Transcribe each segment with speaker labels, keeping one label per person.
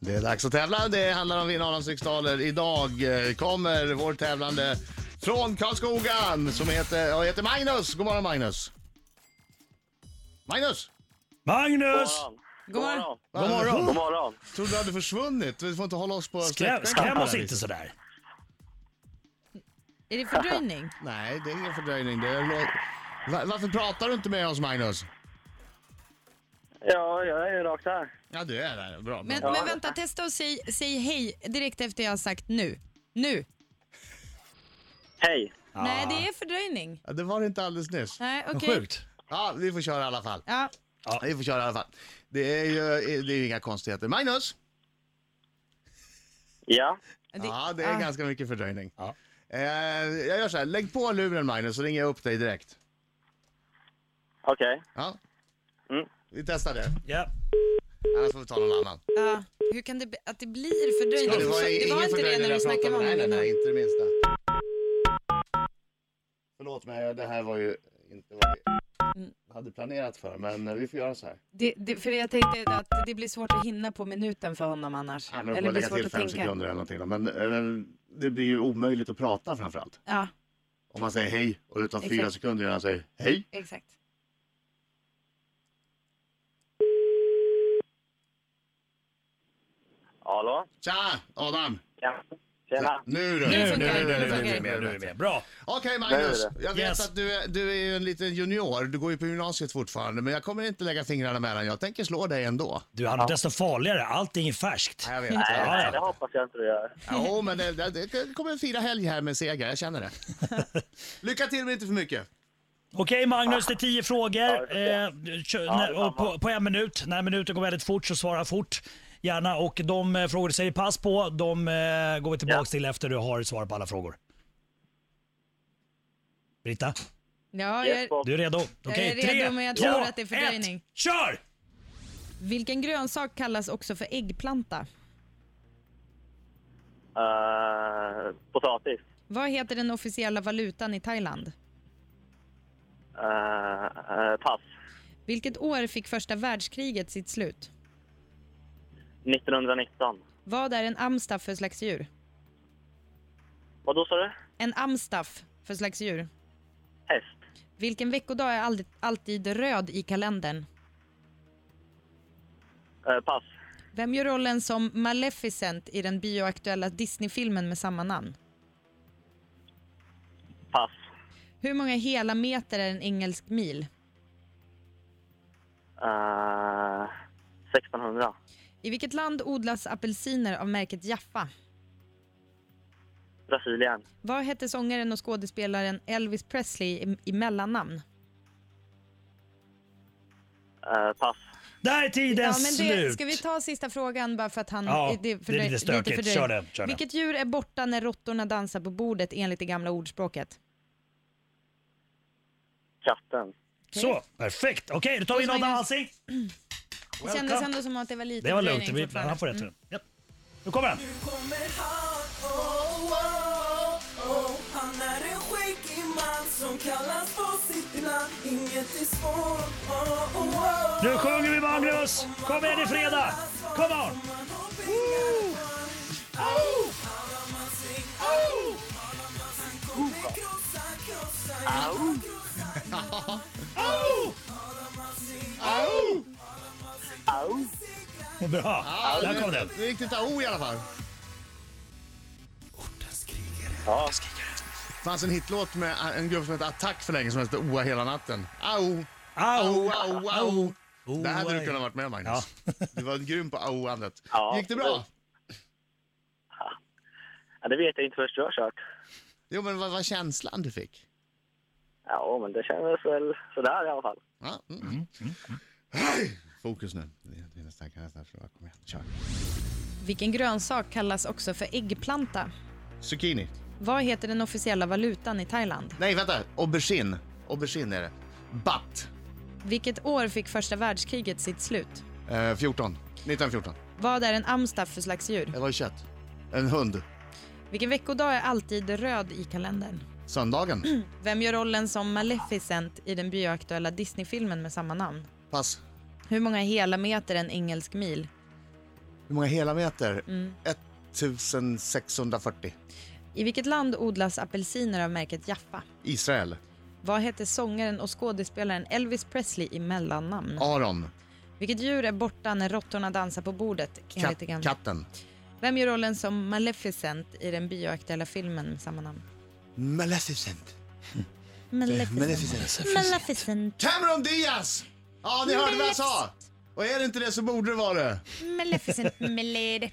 Speaker 1: Det är dags att tävla. Det handlar om att vinna Adamsriksdaler. Idag eh, kommer vår tävlande från Karlskogan som heter, ja, heter Magnus. God morgon Magnus. Magnus!
Speaker 2: Magnus!
Speaker 3: God morgon.
Speaker 1: God morgon.
Speaker 3: God morgon.
Speaker 1: Trodde du hade försvunnit. Vi får inte hålla oss på
Speaker 2: Skräm,
Speaker 1: släktbänken
Speaker 2: skräm
Speaker 1: på det
Speaker 2: oss
Speaker 1: här
Speaker 2: inte
Speaker 1: viset.
Speaker 2: sådär.
Speaker 4: Är det fördröjning?
Speaker 1: Nej, det är ingen fördröjning. Det är... lå- Va- Varför pratar du inte med oss Magnus?
Speaker 3: Ja, jag är ju rakt här.
Speaker 1: Ja, du är där. Bra.
Speaker 4: Men,
Speaker 1: bra.
Speaker 4: men vänta, testa och säg, säg hej direkt efter jag har sagt nu. Nu!
Speaker 3: Hej.
Speaker 4: Nej, det är fördröjning.
Speaker 1: Ja, det var det inte alldeles nyss.
Speaker 4: Nej, okej.
Speaker 2: Sjukt.
Speaker 1: Ja, vi får köra i alla fall.
Speaker 4: Ja.
Speaker 1: Vi får köra i alla fall. Det är ju, det är ju inga konstigheter. Magnus!
Speaker 3: Ja.
Speaker 1: Ja, det är
Speaker 4: ah.
Speaker 1: ganska mycket fördröjning.
Speaker 2: Ja.
Speaker 1: Eh, jag gör så här, lägg på luren Magnus så ringer jag upp dig direkt.
Speaker 3: Okej.
Speaker 1: Ja.
Speaker 3: Mm.
Speaker 1: Vi testar det,
Speaker 2: Ja.
Speaker 1: annars får vi ta någon annan.
Speaker 4: Ja. Hur kan det bli- att det blir fördröjning?
Speaker 1: Det var,
Speaker 4: det
Speaker 1: ingen
Speaker 4: var inte det
Speaker 1: fördröjning
Speaker 4: när
Speaker 1: jag
Speaker 4: du snackade
Speaker 1: pratade
Speaker 4: med
Speaker 1: om. Nej, nej,
Speaker 4: honom
Speaker 1: nej,
Speaker 4: innan.
Speaker 1: inte det minsta. Förlåt mig, det här var ju inte vad vi hade planerat för, men vi får göra så här.
Speaker 5: Det, det, för jag tänkte att det blir svårt att hinna på minuten för honom annars.
Speaker 1: Eller får lägga till fem sekunder eller någonting då. men eh, det blir ju omöjligt att prata framförallt.
Speaker 5: Ja,
Speaker 1: Om man säger hej och utan fyra
Speaker 5: Exakt.
Speaker 1: sekunder innan han säger hej.
Speaker 5: exakt.
Speaker 3: Hallå?
Speaker 1: Tja, Adam!
Speaker 3: Ja. Tjena.
Speaker 1: Nu du!
Speaker 4: Nu
Speaker 2: Nu, nu,
Speaker 4: funkar
Speaker 2: nu,
Speaker 4: det,
Speaker 2: nu,
Speaker 4: nu
Speaker 2: nu,
Speaker 4: funkar
Speaker 2: nu,
Speaker 4: det.
Speaker 2: nu, nu är vi med. Bra.
Speaker 1: Okej
Speaker 3: Det
Speaker 1: Magnus,
Speaker 3: är det.
Speaker 1: jag vet
Speaker 2: Yes.
Speaker 1: att du är, du är ju en liten junior, du går ju på gymnasiet fortfarande, men jag kommer inte lägga fingrarna mellan, jag tänker slå dig ändå.
Speaker 2: Du, han är desto farligare. Allting är färskt.
Speaker 1: Jag vet.
Speaker 3: Nej,
Speaker 2: Ja, ja.
Speaker 3: nej, det hoppas jag inte du gör.
Speaker 1: Jo, men det, det, det kommer fira helg här med seger, jag känner det. Lycka till men inte för mycket.
Speaker 2: Okej Magnus, det är tio
Speaker 3: Ja,
Speaker 2: frågor.
Speaker 3: det är
Speaker 2: Eh, kö- när, och på, på en minut. När minuten går väldigt fort så svara fort. Gärna. Och de eh, frågor du säger pass på, de eh, går vi tillbaka
Speaker 3: Ja.
Speaker 2: till efter du har svar på alla frågor. Britta,
Speaker 4: Ja,
Speaker 3: Yes,
Speaker 4: jag,
Speaker 3: Bob.
Speaker 2: du är redo?
Speaker 4: är
Speaker 2: Okej,
Speaker 4: redo, men jag
Speaker 2: tre,
Speaker 4: tror
Speaker 2: två,
Speaker 4: att det är fördröjning.
Speaker 2: ett, kör!
Speaker 4: vilken grönsak kallas också för äggplanta?
Speaker 3: Eh, potatis.
Speaker 4: Vad heter den officiella valutan i Thailand?
Speaker 3: Eh, eh, pass.
Speaker 4: Vilket år fick första världskriget sitt slut?
Speaker 3: 1919.
Speaker 4: Vad är en amstaff för slags djur?
Speaker 3: Vad då sa du?
Speaker 4: En amstaff för slags djur.
Speaker 3: Häst.
Speaker 4: Vilken veckodag är alltid, alltid röd i kalendern?
Speaker 3: Eh, pass.
Speaker 4: Vem gör rollen som Maleficent i den bioaktuella Disney-filmen med samma namn?
Speaker 3: Pass.
Speaker 4: Hur många hela meter är en engelsk mil?
Speaker 3: Eh, 1600.
Speaker 4: I vilket land odlas apelsiner av märket Jaffa?
Speaker 3: Brasilien.
Speaker 4: Vad hette sångaren och skådespelaren Elvis Presley i, i mellannamn?
Speaker 3: Eh, pass.
Speaker 2: Där är tiden
Speaker 4: Ja, men det,
Speaker 2: slut.
Speaker 4: ska vi ta sista frågan bara för att han...
Speaker 2: Ja, det är
Speaker 4: fördröj-
Speaker 2: lite stökigt.
Speaker 4: fördröj-
Speaker 2: Kör den, kör den.
Speaker 4: Vilket djur är borta när råttorna dansar på bordet enligt det gamla ordspråket?
Speaker 3: Katten.
Speaker 2: Så, perfekt. Okej, då tar vi in
Speaker 4: Och så
Speaker 2: Adam
Speaker 4: Magnus.
Speaker 2: Alsing.
Speaker 4: Det kändes ändå som att det var lite
Speaker 2: Det var lugnt,
Speaker 4: fördröjning
Speaker 2: vi,
Speaker 4: fortfarande.
Speaker 2: han får rätt. Mm. Japp. Nu kommer han.
Speaker 6: Kommer han, oh, oh, oh. Han är en skäggig man som kallas på sitt namn Inget är svårt, oh, oh, oh.
Speaker 2: Nu sjunger vi Magnus! Kom igen, det är fredag! Kom on!
Speaker 6: Man har pengar för. Au! Alla man ser, au! Alla man ser kommer krossa, krossa, ja, krossa, ja. Alla man ser, segrar
Speaker 2: Bra, där kom den.
Speaker 1: Det gick till O i alla fall.
Speaker 3: Ja.
Speaker 1: Det fanns en hitlåt med en grupp som hette Attack för länge som hette Oa hela natten. Au, au,
Speaker 2: Au!
Speaker 1: au, au. Det hade du
Speaker 2: au.
Speaker 1: kunnat varit med Magnus. Du var grym på auandet.
Speaker 3: Ja.
Speaker 1: Gick det bra?
Speaker 3: Ja, det vet jag inte först du har kört.
Speaker 1: Jo, men vad var känslan du fick?
Speaker 3: Ja, men det kändes väl sådär i alla fall.
Speaker 1: Ja. Mm. Hej! Fokus nu. Det det är nästan kan jag nästan förlora. Kom igen, kör.
Speaker 4: Vilken grönsak kallas också för äggplanta?
Speaker 1: Zucchini.
Speaker 4: Vad heter den officiella valutan i Thailand?
Speaker 1: Nej, vänta. Aubergine. Aubergine är det. Batt.
Speaker 4: Vilket år fick första världskriget sitt slut?
Speaker 1: Eh, 14. 1914.
Speaker 4: Vad är en amstaff för slags djur?
Speaker 1: Det var ju kött. En hund.
Speaker 4: Vilken veckodag är alltid röd i kalendern?
Speaker 1: Söndagen.
Speaker 4: Vem gör rollen som Maleficent i den bioaktuella Disney-filmen med samma namn?
Speaker 1: Pass.
Speaker 4: Hur många hela meter är en engelsk mil?
Speaker 1: Hur många hela meter? 1640.
Speaker 4: I vilket land odlas apelsiner av märket Jaffa?
Speaker 1: Israel.
Speaker 4: Vad hette sångaren och skådespelaren Elvis Presley i mellannamn?
Speaker 1: Aron.
Speaker 4: Vilket djur är borta när råttorna dansar på bordet?
Speaker 1: Kat-
Speaker 4: Enligt Egan.
Speaker 1: katten.
Speaker 4: Vem gör rollen som Maleficent i den bioaktuella filmen med samma namn?
Speaker 1: Maleficent.
Speaker 4: Maleficent.
Speaker 1: Maleficent.
Speaker 4: Maleficent.
Speaker 1: Cameron Diaz! Ja, ni hörde vad jag sa. Och är det inte det så borde det vara det.
Speaker 4: Maleficent. Maleficent.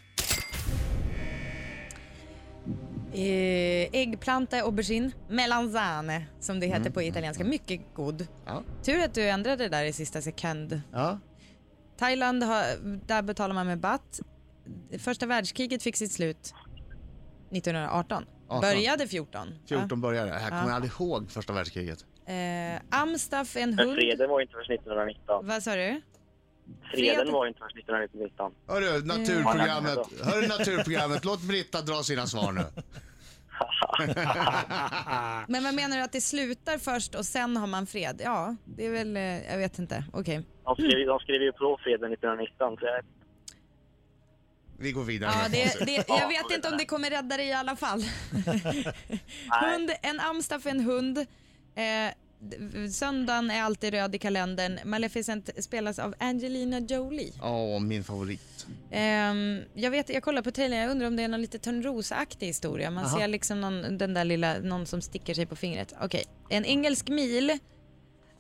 Speaker 4: Eh, äggplanta är aubergine, melanzane som det heter på
Speaker 1: Mm.
Speaker 4: italienska. Mycket god.
Speaker 1: Ja.
Speaker 4: Tur att du ändrade det där i sista sekund.
Speaker 1: Ja.
Speaker 4: Thailand, har, där betalar man med baht. Första världskriget fick sitt slut 1918.
Speaker 1: 18.
Speaker 4: Började 14.
Speaker 1: 14 började. Det här kommer jag aldrig ihåg första världskriget.
Speaker 4: Ja. Eh, Amstaff är en
Speaker 3: Men
Speaker 4: hund.
Speaker 3: freden var ju inte förrän 1919.
Speaker 4: Vad sa du?
Speaker 3: Freden
Speaker 4: Freden.
Speaker 3: var ju inte förrän 1919.
Speaker 4: Mm.
Speaker 1: Hörru, naturprogrammet. Hörru, naturprogrammet. Låt Britta dra sina svar nu.
Speaker 4: Men vad menar du att det slutar först och sen har man fred? Ja, det är väl, eh, jag vet inte. Okej.
Speaker 3: De skrev, de skrev ju på freden 1919, så jag,
Speaker 1: Vi går vidare.
Speaker 4: Ja, det, det, jag vet
Speaker 3: det
Speaker 4: inte om det kommer rädda dig i alla fall.
Speaker 3: Nej.
Speaker 4: hund, en amstaff är en hund. Eh, d- söndagen är alltid röd i kalendern. Maleficent spelas av Angelina Jolie.
Speaker 1: Åh, min favorit.
Speaker 4: Ehm, jag, vet, jag kollar på trailern, jag undrar om det är någon lite Törnrosaktig historia. Man ser liksom någon, den där lilla, någon som sticker sig på fingret. Okej, en engelsk mil.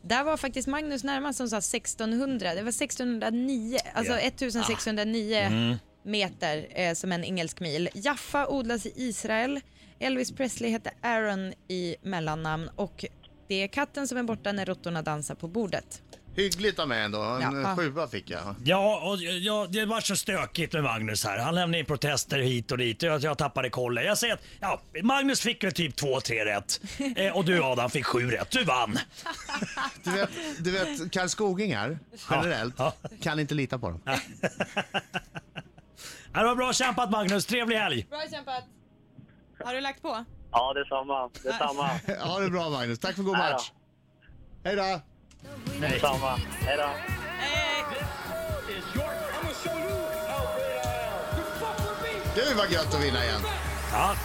Speaker 4: Där var faktiskt Magnus närmast som sa 1600. Det var 1609, alltså 1609 meter eh, som en engelsk mil. Jaffa odlas i Israel. Elvis Presley hette Aaron i mellannamn och det är katten som är borta när råttorna dansar på bordet.
Speaker 1: Hyggligt av mig ändå. En eh,
Speaker 4: Ja.
Speaker 1: sjua fick jag.
Speaker 2: Ja, och, ja, det var så stökigt med Magnus här. Han lämnade in protester hit och dit och jag, jag tappade kollen. Jag säger att ja, Magnus fick väl typ två, tre rätt. Eh, och du Adam fick sju rätt. Du vann.
Speaker 1: Du vet, du vet karlskogingar generellt
Speaker 2: Ja.
Speaker 1: kan inte lita på dem.
Speaker 2: Ja, Det var bra kämpat Magnus. Trevlig helg.
Speaker 4: Bra kämpat! Har du lagt på?
Speaker 3: ja, detsamma. Detsamma.
Speaker 1: Ha det bra Magnus. Tack för god
Speaker 3: Ja då.
Speaker 1: match. Hej då.
Speaker 3: detsamma. Hej då.
Speaker 1: Gud vad gött att vinna igen.
Speaker 2: Ja,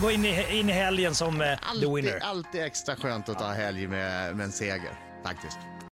Speaker 2: gå in i, in i helgen som eh, the
Speaker 1: Alltid,
Speaker 2: winner.
Speaker 1: alltid extra skönt att ta helg med, med en seger faktiskt.